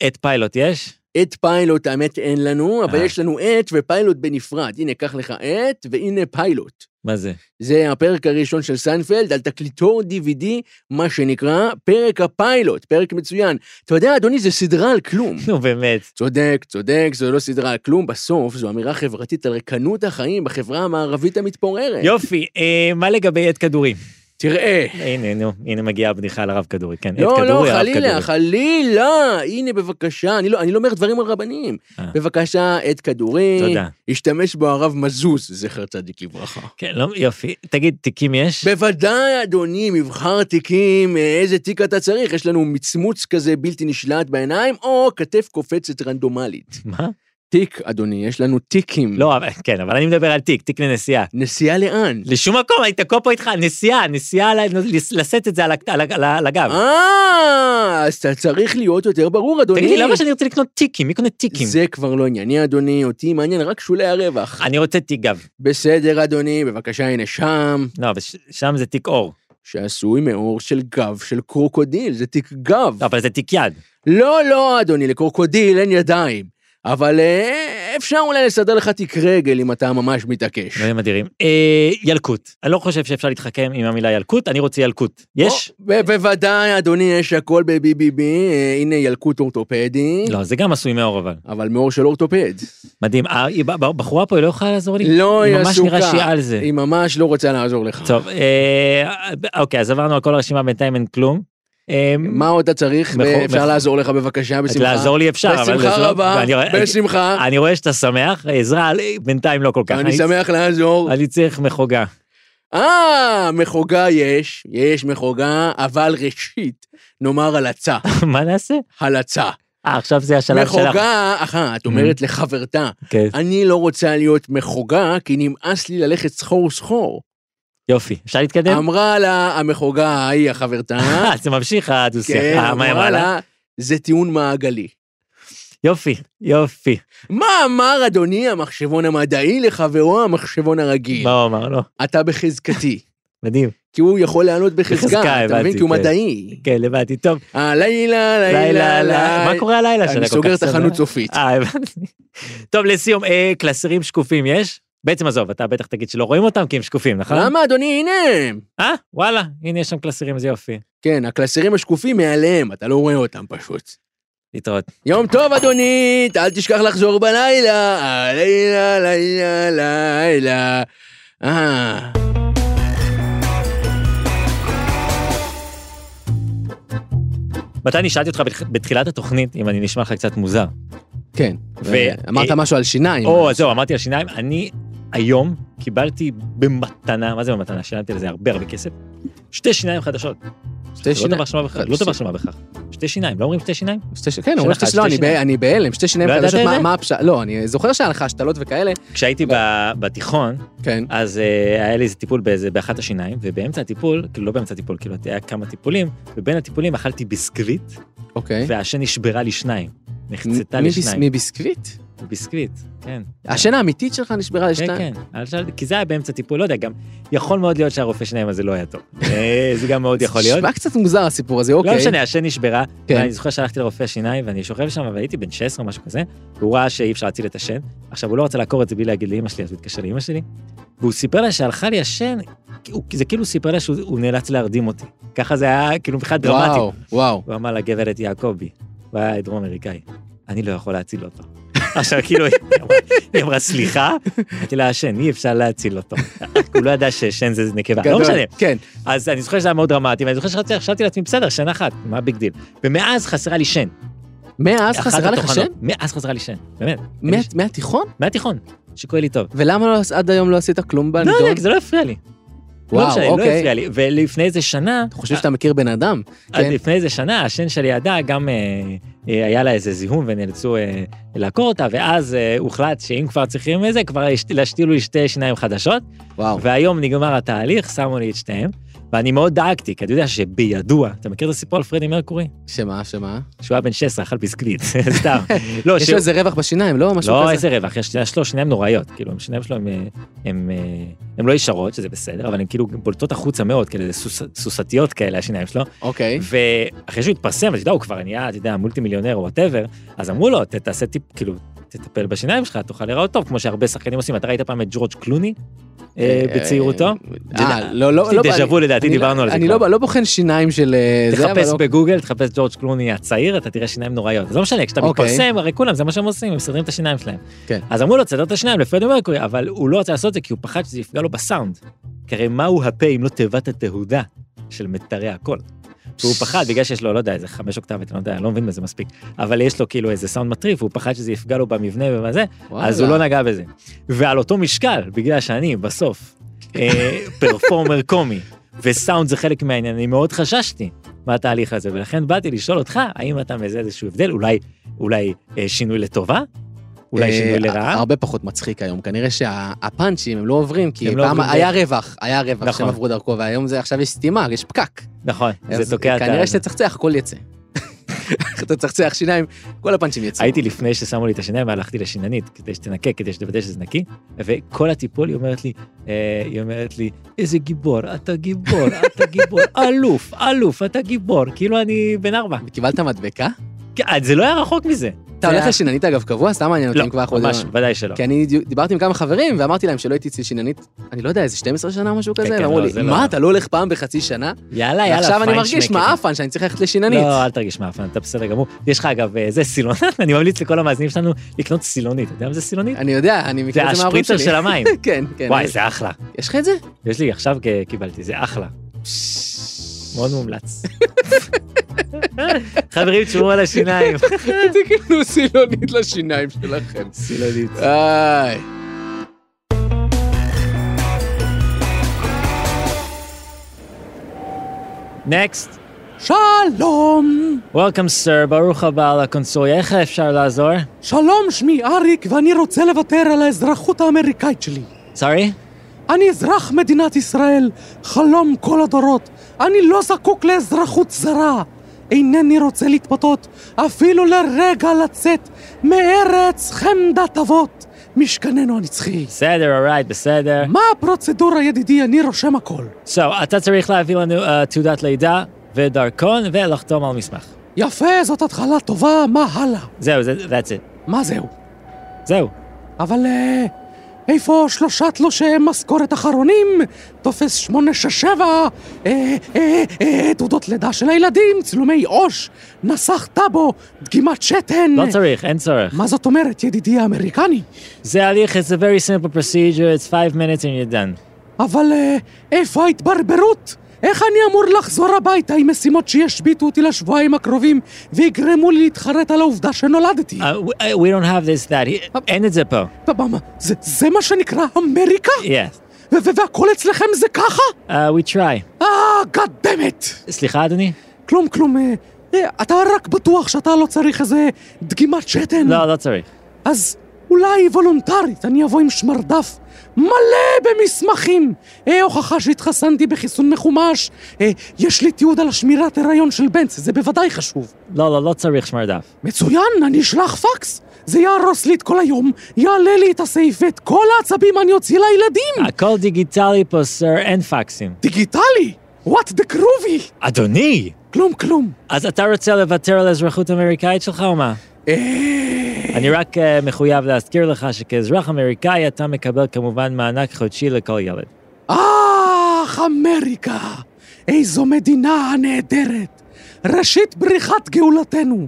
S3: אה, את פיילוט יש?
S2: את פיילוט, האמת, אין לנו, אבל
S3: אה.
S2: יש לנו את ופיילוט בנפרד. הנה, קח לך את, והנה פיילוט.
S3: מה זה?
S2: זה הפרק הראשון של סיינפלד על תקליטור DVD, מה שנקרא פרק הפיילוט, פרק מצוין. אתה יודע, אדוני, זה סדרה על כלום.
S3: נו, באמת.
S2: צודק, צודק, זו לא סדרה על כלום, בסוף זו אמירה חברתית על רקנות החיים בחברה המערבית המתפוררת.
S3: יופי, אה, מה לגבי עד כדורי?
S2: תראה.
S3: הנה, נו, הנה מגיעה הבדיחה על הרב כדורי, כן, עד
S2: לא, לא,
S3: כדורי, הרב
S2: חלילה,
S3: כדורי.
S2: חלילה, הנה בבקשה, אני לא, אני לא אומר דברים על רבנים.
S3: אה.
S2: בבקשה, עד כדורי,
S3: תודה.
S2: השתמש בו הרב מזוז, זכר צדיק לברכה.
S3: כן, לא, יופי. תגיד, תיקים יש?
S2: בוודאי, אדוני, מבחר תיקים, אה, איזה תיק אתה צריך? יש לנו מצמוץ כזה בלתי נשלט בעיניים, או כתף קופצת רנדומלית.
S3: מה?
S2: תיק, אדוני, יש לנו תיקים.
S3: לא, אבל- כן, אבל אני מדבר על תיק, תיק לנסיעה.
S2: נסיעה לאן?
S3: לשום מקום, אני תקוע פה איתך, נסיעה, נסיעה, ל- לס- לשאת את זה על ה- על ה- על ה- על הגב.
S2: אה, אז אתה צריך להיות יותר ברור, אדוני.
S3: תגיד לי, למה שאני רוצה לקנות תיקים? מי קונה תיקים?
S2: זה כבר לא ענייני, אדוני, אותי מעניין רק שולי הרווח.
S3: אני רוצה תיק גב.
S2: בסדר, אדוני, בבקשה, הנה שם,
S3: לא, אבל ש- שם זה תיק עור.
S2: שעשוי מאור של גב של קרוקודיל, זה תיק גב.
S3: לא, אבל זה תיק יד.
S2: לא, לא, אדוני, לקרוקודיל אין ידיים. אבל אה, אפשר אולי לסדר לך תיק רגל אם אתה ממש מתעקש.
S3: דברים אדירים. אה, ילקוט. אני לא חושב שאפשר להתחכם עם המילה ילקוט, אני רוצה ילקוט. יש?
S2: או, ב- בוודאי, אדוני, יש הכל ב-BBB, אה, הנה ילקוט אורתופדי,
S3: לא, זה גם עשוי מאור אבל.
S2: אבל מאור של אורתופד.
S3: מדהים. אה, היא- ב- ב- בחורה פה, היא לא יכולה לעזור לי?
S2: לא, היא
S3: היא ממש נראה
S2: עסוקה.
S3: שהיא על זה.
S2: היא ממש לא רוצה לעזור לך.
S3: טוב, אה, אוקיי, אז עברנו על כל הרשימה, בינתיים אין כלום. אה,
S2: מה עוד אתה צריך? אה,
S3: מכו-
S2: אפשר
S3: מכו-
S2: לעזור לך בבקשה,
S3: אז
S2: בשמחה.
S3: לעזור לי אפשר, אבל...
S2: בשמחה
S3: זה לא-
S2: רבה,
S3: ואני רואה-
S2: בשמחה.
S3: אני רואה שאתה שמח, עזרה אה, בינתיים לא כל כך.
S2: אני שמח לעזור.
S3: אני צריך מחוגה.
S2: אה, מחוגה יש, יש מחוגה, אבל ראשית, נאמר הלצה,
S3: מה נעשה?
S2: הלצה.
S3: אה, עכשיו זה השלב שלך.
S2: מחוגה אחת
S3: Mm-hmm.
S2: אומרת לחברתה,
S3: כן,
S2: אני לא רוצה להיות מחוגה, כי נמאס לי ללכת סחור סחור.
S3: יופי. אפשר להתקדם?
S2: אמרה לה המחוגה ההיא, החברתה,
S3: אה, זה ממשיך הדו-שיח.
S2: כן,
S3: אה, מה היא
S2: אמרה
S3: אמרה לה?
S2: לה, זה טיעון מעגלי.
S3: יופי, יופי.
S2: מה אמר אדוני המחשבון המדעי לחברו המחשבון הרגיל?
S3: מה הוא אמר לו?
S2: אתה בחזקתי.
S3: מדהים.
S2: כי הוא יכול לענות בחזקה,
S3: בחזקה,
S2: אתה מבין?
S3: הבנתי,
S2: כי הוא
S3: כן.
S2: מדעי.
S3: כן, הבנתי. טוב,
S2: הלילה, לילה,
S3: לילה,
S2: לילה.
S3: לילה. מה קורה הלילה שלה?
S2: אני
S3: כל
S2: סוגר
S3: כך
S2: את החנות סופית.
S3: אה, הבנתי. טוב, לסיום, אה, קלסרים שקופים יש? בעצם עזוב, אתה בטח תגיד שלא רואים אותם כי הם שקופים, נכון?
S2: למה, אדוני? הנה הם.
S3: אה, וואלה, הנה יש שם קלסרים, זה יופי.
S2: כן, הקלסרים השקופים מעליהם, אתה לא רואה אותם פשוט.
S3: להתראות.
S2: יום טוב, אדונית, אל תשכח לחזור בלילה. הלילה, לילה, לילה. אה...
S3: מתי אני שאלתי אותך בתח- בתחילת התוכנית, אם אני נשמע לך קצת מוזר.
S2: כן,
S3: ו-
S2: אמרת
S3: אה,
S2: משהו על שיניים.
S3: או, אז זהו, אמרתי על שיניים, אני היום קיבלתי במתנה, מה זה במתנה? שילמתי לזה הרבה הרבה כסף. שתי שיניים חדשות.
S2: שתי
S3: לא
S2: שיניים. אה,
S3: דבר שמה בכך, לא דבר שמה בכך. שתי שיניים, לא אומרים שתי שיניים?
S2: שתי ש- כן, אומרים
S3: שלך
S2: שתי
S3: על
S2: שיניים,
S3: שתי
S2: אני ב-
S3: שיניים.
S2: אני בהלם, שתי שיניים
S3: לא ידעת
S2: חדשות,
S3: את
S2: מה-
S3: זה?
S2: מה הפשט? לא, אני זוכר שהיה לך השתלות וכאלה.
S3: כשהייתי
S2: לא.
S3: ב- בתיכון,
S2: כן.
S3: אז uh, היה לי איזה טיפול באיזה, באחת השיניים, ובאמצע הטיפול, כאילו לא באמצע הטיפול, כאילו היה כמה טיפולים, ובין הטיפולים אכלתי ביסקוויט,
S2: אוקיי.
S3: והשן נשברה לי שניים. נחצתה
S2: מ-
S3: לי
S2: מביס-
S3: שניים.
S2: מביסקוויט?
S3: ביסקוויט, כן.
S2: השן האמיתית שלך נשברה
S3: כן,
S2: לשתיים?
S3: כן. אל תשאל- כי זה היה באמצע טיפול, לא יודע, גם יכול מאוד להיות שהרופא שניים הזה לא היה טוב. אה, זה גם מאוד יכול להיות.
S2: נשמע קצת מוזר הסיפור הזה, אוקיי.
S3: לא משנה, השן נשברה,
S2: כן.
S3: ואני זוכר שהלכתי לרופא שיניים, ואני שוכב שם, והייתי בן 16 או משהו כזה, והוא ראה שאי אפשר להציל את השן. עכשיו, הוא לא רצה לעקור את זה בלי להגיד לאמא שלי, אז הוא התקשר לאמא שלי, והוא סיפר לה שהלכה לעשן, כי הוא- זה כאילו הוא סיפר לה שהוא הוא נאלץ להרדים אותי. ככה זה היה כאילו בכלל דרמטי.
S5: וואו, וואו.
S3: הוא אמר לה, גברת יעקבי, הוא היה דרום אמריקאי, אני לא יכול להציל אותו. עכשיו כאילו, היא אמרה- היא אמרה, סליחה? אמרתי לה, השן, אי אפשר להציל אותו. הוא לא ידע ששן זה נקבה, לא
S5: גדול.
S3: משנה.
S5: כן,
S3: אז אני זוכר שזה היה מאוד דרמטי, ואני זוכר שחשבתי לעצמי, בסדר, שן אחת, מה ביג דיל? ומאז חסרה לי שן.
S5: מאז
S3: אחת
S5: חסרה לך
S3: התוכנות.
S5: שן?
S3: מאז חסרה לי שן, באמת.
S5: מה- מהתיכון?
S3: מהתיכון, שקורא לי טוב.
S5: ולמה לא- עד היום לא עשית כלום
S3: לא
S5: בנדון?
S3: יודע, זה לא הפריע לי. לא
S5: וואו,
S3: משנה, לא
S5: אוקיי.
S3: הפריע לי. ולפני איזה שנה,
S5: אתה חושב שאתה מכיר בן אדם?
S3: אז
S5: כן.
S3: לפני איזה שנה, השן שלידה גם אה, אה, היה לה איזה זיהום ונאלצו אה, לעקור אותה, ואז אה, הוחלט שאם כבר צריכים את זה, כבר יש- להשתילו לי שתי שיניים חדשות,
S5: כן? וואו.
S3: והיום נגמר התהליך, שמו לי את שתיהם, ואני מאוד דאגתי, כי אתה יודע שבידוע, אתה מכיר את הסיפור על פרדי מרקורי?
S5: שמה, שמה?
S3: שהוא היה בן 16, אכל ביסקוויט, סתם. לא,
S5: יש
S3: שהוא-
S5: לו איזה רווח בשיניים, לא? משהו
S3: לא,
S5: כזה.
S3: איזה רווח, יש יש לו שיניים נוראיות, כאילו, השיניים שלו הם, אה, הם, אה, הם לא ישרות, שזה בסדר, אבל הן כאילו בולטות החוצה מאוד, כאלה סוס, סוסתיות כאלה, השיניים שלו.
S5: אוקיי.
S3: ואחרי שהוא התפרסם, אתה יודע, הוא כבר נהיה, אתה יודע, מולטי מיליונר או וואטאבר, אז אמרו לו, "ת- תעשה טיפ, כאילו, תטפל בשיניים שלך, תוכל להיראות טוב, כמו שהרבה שחקנים עושים. אתה ראית פעם את ג'ורג' קלוני אה, בצעירותו?
S5: אה, לא, לא,
S3: יש לי
S5: לא.
S3: דז'ה
S5: אני-
S3: וו, לדעתי,
S5: אני לא-
S3: דיברנו על זה
S5: אני
S3: כבר.
S5: לא- לא בוחן שיניים של אה, זה, אבל
S3: תחפש
S5: לא-
S3: בגוגל, תחפש ג'ורג' קלוני הצעיר, אתה תראה שיניים נוראיות. זה לא משנה, כשאתה
S5: אוקיי.
S3: מתפרסם, הרי כולם, זה מה שהם עושים, הם מסדרים את השיניים שלהם.
S5: כן.
S3: אז אמרו לו, תסדר את השיניים לפרדי מרקורי, אבל הוא לא רצה לעשות את זה כי הוא פחד שזה יפגע לו בסאונד. כי הרי מהו הפה אם לא תיבת התהודה של מיתרי הקול? והוא פחד בגלל שיש לו, לא יודע, איזה חמש אוקטבות, אני לא יודע, אני לא מבין בזה מספיק, אבל יש לו כאילו איזה סאונד מטריף, והוא פחד שזה יפגע לו במבנה ובזה, אז הוא
S5: וואלה.
S3: לא נגע בזה. ועל אותו משקל, בגלל שאני בסוף אה, פרפורמר קומי, וסאונד זה חלק מהעניין, אני מאוד חששתי מהתהליך הזה, ולכן באתי לשאול אותך, האם אתה מזהה איזשהו הבדל, אולי, אולי אה, שינוי לטובה? אולי
S5: אה,
S3: שינוי לרעה?
S5: הרבה פחות מצחיק היום, כנראה שהפאנצ'ים הם לא עוברים, כי
S3: הם לא
S5: פעם
S3: עוברים
S5: היה רווח, היה רווח
S3: נכון.
S5: שהם עברו דרכו, והיום זה עכשיו יש סתימה, יש פקק.
S3: נכון,
S5: אה, אז
S3: זה תוקע את ה...
S5: כנראה שתצחצח, הכל יצא. אתה תצחצח שיניים, כל הפאנצ'ים יצאו.
S3: הייתי לפני ששמו לי את השיניים והלכתי לשיננית כדי שתנקה, כדי שתוודא שזה נקי, וכל הטיפול היא אומרת לי, אה, היא אומרת לי, איזה גיבור, אתה גיבור, אתה גיבור, אלוף, אלוף, אתה גיבור, כאילו אני בן ארבע.
S5: קיבלת מדבקה?
S3: כן, זה לא היה רחוק מזה.
S5: אתה הולך לשיננית אגב קבוע? סתם מעניין אותי
S3: לא,
S5: אוקיי, אם כבר אנחנו... כן.
S3: ממש,
S5: יודעים.
S3: ודאי שלא.
S5: כי אני די- דיברתי עם כמה חברים ואמרתי להם שלא הייתי אצל שיננית, אני לא יודע, איזה 12 שנה או משהו
S3: כן,
S5: כזה,
S3: כן,
S5: ואמרו
S3: לא,
S5: לי,
S3: זה לא-
S5: מה, אתה לא הולך פעם בחצי שנה?
S3: יאללה, יאללה,
S5: עכשיו אני מרגיש
S3: פיינשמקר.
S5: מעפן שאני צריך ללכת לשיננית.
S3: לא, אל תרגיש מעפן, אתה בסדר גמור. יש לך אגב, אה, זה סילון, אני ממליץ לכל המאזינים שלנו לקנות סילונית. אתה יודע מה זה סילונית?
S5: אני יודע, אני
S3: זה
S5: מכיר את זה מההורים
S3: השפריצר
S5: שלי.
S3: של המים.
S5: כן, כן.
S3: וואי, זה אחלה.
S5: יש לך את זה?
S3: יש לי, עכשיו כ- קיבלתי, זה אחלה. מאוד מומלץ. חברים, תשמרו על השיניים.
S5: זה כאילו סילונית לשיניים שלכם.
S3: סילונית.
S5: איי.
S3: נקסט.
S5: שלום,
S3: Welcome, sir, ברוך הבא לקונסוליה. איך אפשר לעזור?
S5: שלום, שמי אריק, ואני רוצה לוותר על האזרחות האמריקאית שלי.
S3: סורי?
S5: אני אזרח מדינת ישראל, חלום כל הדורות. אני לא זקוק לאזרחות זרה. אינני רוצה להתפתות, אפילו לרגע לצאת מארץ חמדת אבות, משכננו הנצחי.
S3: בסדר, אורייט, בסדר.
S5: מה הפרוצדורה, ידידי? אני רושם הכל.
S3: So, אתה צריך להביא לנו אה, תעודת לידה ודרכון ולחתום על מסמך.
S5: יפה, זאת התחלה טובה, מה הלאה?
S3: זהו, זה, that's it.
S5: מה זהו?
S3: זהו.
S5: אבל אה, איפה שלושה תלושי משכורת אחרונים? טופס 867, אה, אה, אה, תעודות לידה של הילדים, צילומי עו"ש, נסח טאבו, דגימת שתן.
S3: לא צריך, אין צורך.
S5: מה זאת אומרת, ידידי האמריקני?
S3: זה הליך, it's a very simple procedure, it's five minutes and you're done. Uh,
S5: אבל אה, איפה ההתברברות? איך אני אמור לחזור הביתה עם משימות שישביתו אותי לשבועיים הקרובים ויגרמו לי להתחרט על העובדה שנולדתי?
S3: Uh, we- uh, we don't have this, that. אין את זה פה.
S5: בבמה, זה, זה מה שנקרא אמריקה?
S3: Yes.
S5: ו- ו- והכל אצלכם זה ככה?
S3: Uh, we try.
S5: אה, God damn it!
S3: סליחה, אדוני?
S5: כלום, כלום. אה, אה, אתה רק בטוח שאתה לא צריך איזה דגימת שתן?
S3: לא, לא צריך.
S5: אז אולי וולונטרית אני אבוא עם שמרדף מלא במסמכים. אה, הוכחה שהתחסנתי בחיסון מחומש. אה, יש לי תיעוד על שמירת הריון של בנצי, זה בוודאי חשוב.
S3: לא, לא, לא צריך שמרדף.
S5: מצוין, אני אשלח פקס. זה יהרוס לי את כל היום, יעלה לי את הסעיף ואת כל העצבים אני אוציא לילדים.
S3: הכל דיגיטלי פה, סר, אין פקסים.
S5: דיגיטלי! וואט דה קרובי!
S3: אדוני!
S5: כלום, כלום.
S3: אז אתה רוצה לוותר על האזרחות האמריקאית שלך או מה?
S5: אה,
S3: אני רק אה, מחויב להזכיר לך שכאזרח אמריקאי אתה מקבל כמובן מענק חודשי לכל ילד.
S2: אך, אמריקה! איזו מדינה נהדרת! ראשית בריחת גאולתנו!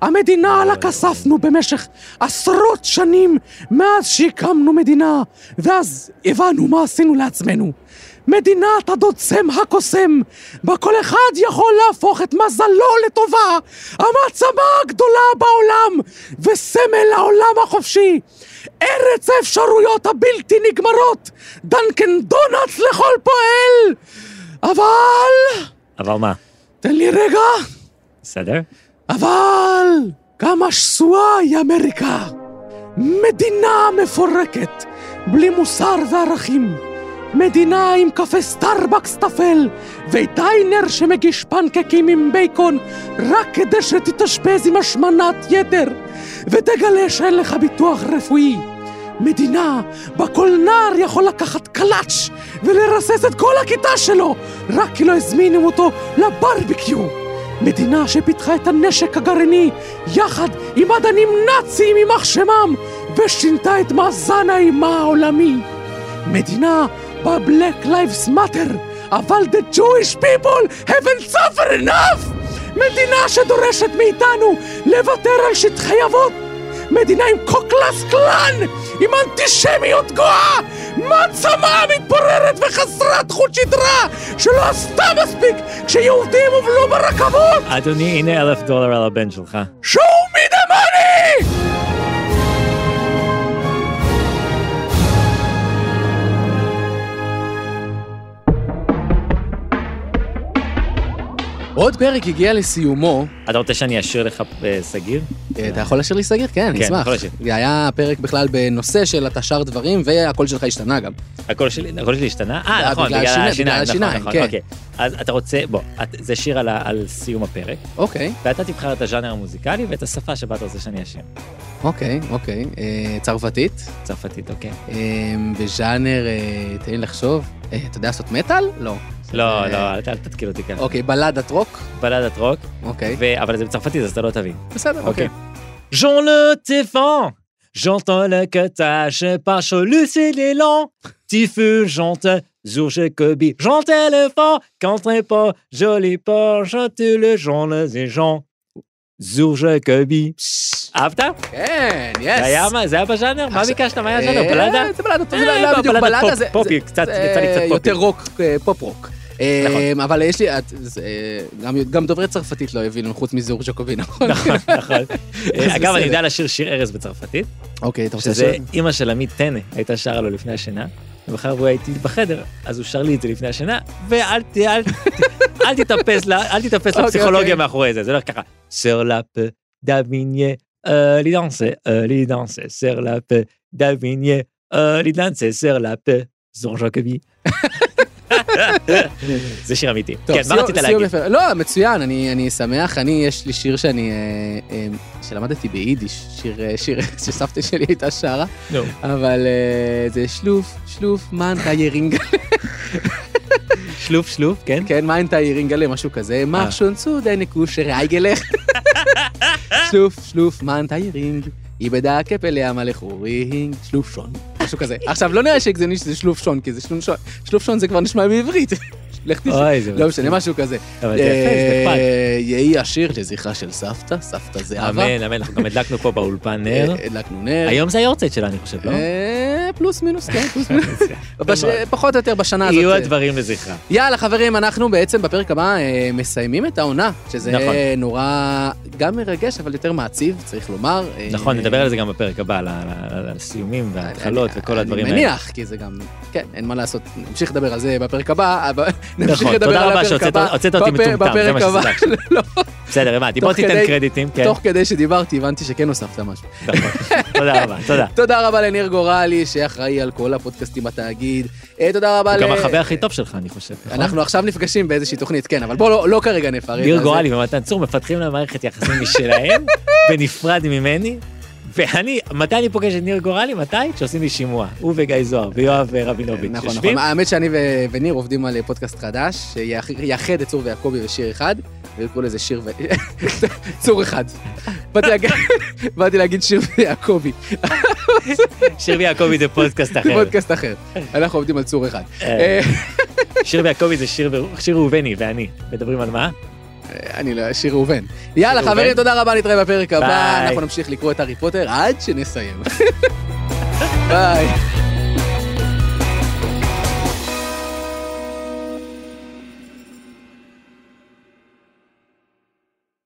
S2: המדינה עלה כספנו במשך עשרות שנים מאז שהקמנו מדינה, ואז הבנו מה עשינו לעצמנו. מדינת הדודסם הקוסם, בה כל אחד יכול להפוך את מזלו לטובה, המעצמה הגדולה בעולם, וסמל העולם החופשי. ארץ האפשרויות הבלתי נגמרות, דנקן דונלדס לכל פועל! אבל...
S3: אבל מה,
S2: תן לי רגע.
S3: בסדר?
S2: אבל כמה שסועה היא אמריקה. מדינה מפורקת, בלי מוסר וערכים. מדינה עם קפה סטארבקס טפל, ודיינר שמגיש פנקקים עם בייקון רק כדי שתתאשפז עם השמנת יתר, ותגלה שאין לך ביטוח רפואי. מדינה בה כל נער יכול לקחת קלאץ' ולרסס את כל הכיתה שלו, רק כי לא הזמינו אותו לברבקיו. מדינה שפיתחה את הנשק הגרעיני יחד עם מדענים נאצים יימח שמם ושינתה את מאזן האימה העולמי. מדינה בה Black Lives Matter, אבל the Jewish people haven't suffered enough! מדינה שדורשת מאיתנו לוותר על שטחי אבות! מדינה עם קוקלס קלאן! עם אנטישמיות גואה! מעצמה מתפוררת וחסרת חוט שדרה! שלא עשתה מספיק כשיהודים הובלו ברכבות!
S3: אדוני, הנה אלף דולר על הבן שלך.
S2: show me the money! עוד פרק הגיע לסיומו,
S3: אתה רוצה שאני אשאיר לך אה, סגיר?
S2: אה, אתה יכול להשאיר לי סגיר? כן, אני
S3: כן,
S2: אשמח.
S3: יכול להשאיר.
S2: זה היה פרק בכלל בנושא של אתה שר דברים, והקול שלך השתנה גם.
S3: הקול שלי, הקול שלי השתנה? אה,
S2: לא, בגלל
S3: נכון, בגלל
S2: השיניים, בגלל
S3: השיניים, נכון,
S2: השיניים,
S3: נכון,
S2: כן.
S3: אוקיי. אז אתה רוצה, בוא, את- זה שיר על ה- על סיום הפרק,
S2: אוקיי,
S3: ואתה תבחר את הז'אנר המוזיקלי ואת השפה שבה אתה רוצה שאני אשיר.
S2: אוקיי, אוקיי. אה, צרפתית,
S3: צרפתית, אוקיי?
S2: אה, בז'אנר, אה, תן לי לחשוב, אה, אתה יודע לעשות מטאל? לא.
S3: לא,
S2: אה,
S3: לא, אל ת- אל תתקיל אותי ככה.
S2: אוקיי, בלדת רוק?
S3: בלדת רוק,
S2: אוקיי.
S3: ו- אבל זה בצרפתית, אז אתה לא תבין.
S2: בסדר,
S3: אוקיי.
S2: אוקיי.
S3: J'en le téfan, j'entends le cottage, par cholu c'est l'élan, typhus, j'ente, zourge kobi, j'ente le fort, quand un pas, joli pas, j'ente le j'en le zéjan, zourge kobi. אהבת?
S2: כן, יס.
S3: זה היה מה- זה היה בז'אנר? מה
S2: עכשיו-
S3: ביקשת? מה היה ז'אנר? בלדה?
S2: אה, זה בלדה, טוב, זה לא
S3: אה,
S2: היה בדיוק
S3: בלדת
S2: בלדה.
S3: פופ-
S2: זה-
S3: פופי,
S2: זה-
S3: קצת-
S2: זה
S3: יצא לי קצת נכון. פופי.
S2: יותר רוק, אה, פופ רוק. אה, אבל יש לי, את- זה, אה, גם- גם דוברי צרפתית לא הבינו, חוץ מזהור ז'קובי, נכון?
S3: נכון, נכון.
S2: אז
S3: אגב, אני
S2: בסדר.
S3: יודע לשיר שיר ארז בצרפתית,
S2: אוקיי, אתה רוצה
S3: שזה
S2: לשאול?
S3: אימא של עמית טנא הייתה שרה לו לפני השינה, ומחר הוא הייתי בחדר, אז הוא שר לי את זה לפני השינה, ואל ת- אל ת- אל תתאפס ל- אל תתאפס
S2: אוקיי, אוקיי.
S3: לפסיכולוגיה מאחורי זה, זה הולך ככה, סר לאפ דוויניה אה, לידנסה, אה, לידנסה, סר לאפ דוויניה אה, לידנסה, סר לאפ זור ז'קבי. זה שיר אמיתי.
S2: טוב,
S3: כן, מה
S2: סיום-
S3: רצית
S2: סיום
S3: להגיד?
S2: יפה. לא, מצוין, אני אני שמח. אני, יש לי שיר שאני... אה, אה, שלמדתי ביידיש, שיר, אה, שיר שסבתא שלי הייתה שרה,
S3: נו.
S2: אבל אה, זה שלוף, שלוף, מנטה ירינגה,
S3: שלוף שלוף, כן?
S2: כן, מנטה ירינגלה, משהו כזה,
S3: אה.
S2: מחשון צודה נקושר אייגלך. שלוף, שלוף, מנטה ירינג, איבדה כפלי המלך אורינג, שלוף שון, משהו כזה. עכשיו, לא נראה שהגזוני שזה שלוף שון, כי זה שלוף שון, שלוף שון זה כבר נשמע בעברית. לך תשמע.
S3: אוי, זה
S2: לא משנה, משהו כזה.
S3: אבל זה יפה, זה נחמד.
S2: אה, יהי השיר לזכרה של סבתא, סבתא זהבה.
S3: אמן, אמן, אנחנו גם הדלקנו פה באולפן נר.
S2: אה, הדלקנו נר.
S3: היום זה היורצייט שלה, אני חושב, לא?
S2: אה, פלוס מינוס, כן, פלוס מינוס. בש- פחות או יותר בשנה הזאת.
S3: יהיו
S2: אה,
S3: הדברים לזכרה.
S2: יאללה, חברים, אנחנו בעצם בפרק הבא אה, מסיימים את העונה, שזה
S3: נכון.
S2: נורא גם מרגש, אבל יותר מעציב, צריך לומר. אה,
S3: נכון, נדבר על זה גם בפרק הבא, על ה- על הסיומים וההתחלות
S2: אני-
S3: וכל הדברים
S2: אני
S3: האלה.
S2: מניח, כי זה גם, כן, אין מה לעשות, נמשיך לדבר על זה בפרק הבא, אבל נמשיך
S3: נכון,
S2: לדבר על
S3: תודה רבה
S2: הפרק
S3: שהוצאת
S2: הבא.
S3: הוצאת אותי
S2: בפר-
S3: מטומטם, זה
S2: בפרק
S3: מה שזה
S2: הבא.
S3: עכשיו.
S2: לא,
S3: בסדר, הבנתי,
S2: תוך
S3: בוא תיתן
S2: כדי-
S3: קרדיטים, כן.
S2: תוך כדי שדיברתי, הבנתי שכן הוספת משהו.
S3: נכון. תודה רבה, תודה.
S2: תודה רבה לניר גורלי, שאחראי על כל הפודקאסטים בתאגיד. אה, תודה רבה
S3: הוא
S2: ל...
S3: גם החבר הכי טוב שלך, אני חושב. נכון?
S2: אנחנו עכשיו נפגשים באיזושהי תוכנית, כן, אבל בוא לא- לא כרגע נפרט.
S3: ניר
S2: אז-
S3: גורלי ומתן צור מפתחים להם מערכת יחסים משלהם, בנפרד ממני. ואני, מתי אני פוגש את ניר גורלי? מתי? כשעושים לי שימוע. הוא וגיא זוהר ויואב אה, רבינוביץ'.
S2: נכון,
S3: יושבים,
S2: נכון. האמת שאני ו- וניר עובדים על פודקאסט חדש, שיאחד את צור ויעקבי ושיר אחד. ויקראו לזה שיר ו... צור אחד. באתי להגיד- באתי להגיד שיר ויעקבי,
S3: כן. שיר ויעקבי זה פודקאסט אחר.
S2: נכון. פודקאסט אחר. אנחנו עובדים על צור אחד.
S3: אה, שיר ויעקבי זה שיר ו- שיר ראובני ואני. מדברים על מה?
S2: אני לא, שיר ראובן. יאללה,
S3: ראובן.
S2: חברים, תודה רבה, נתראה בפרק הבא.
S3: ביי.
S2: אנחנו נמשיך לקרוא את הארי פוטר עד שנסיים. ביי.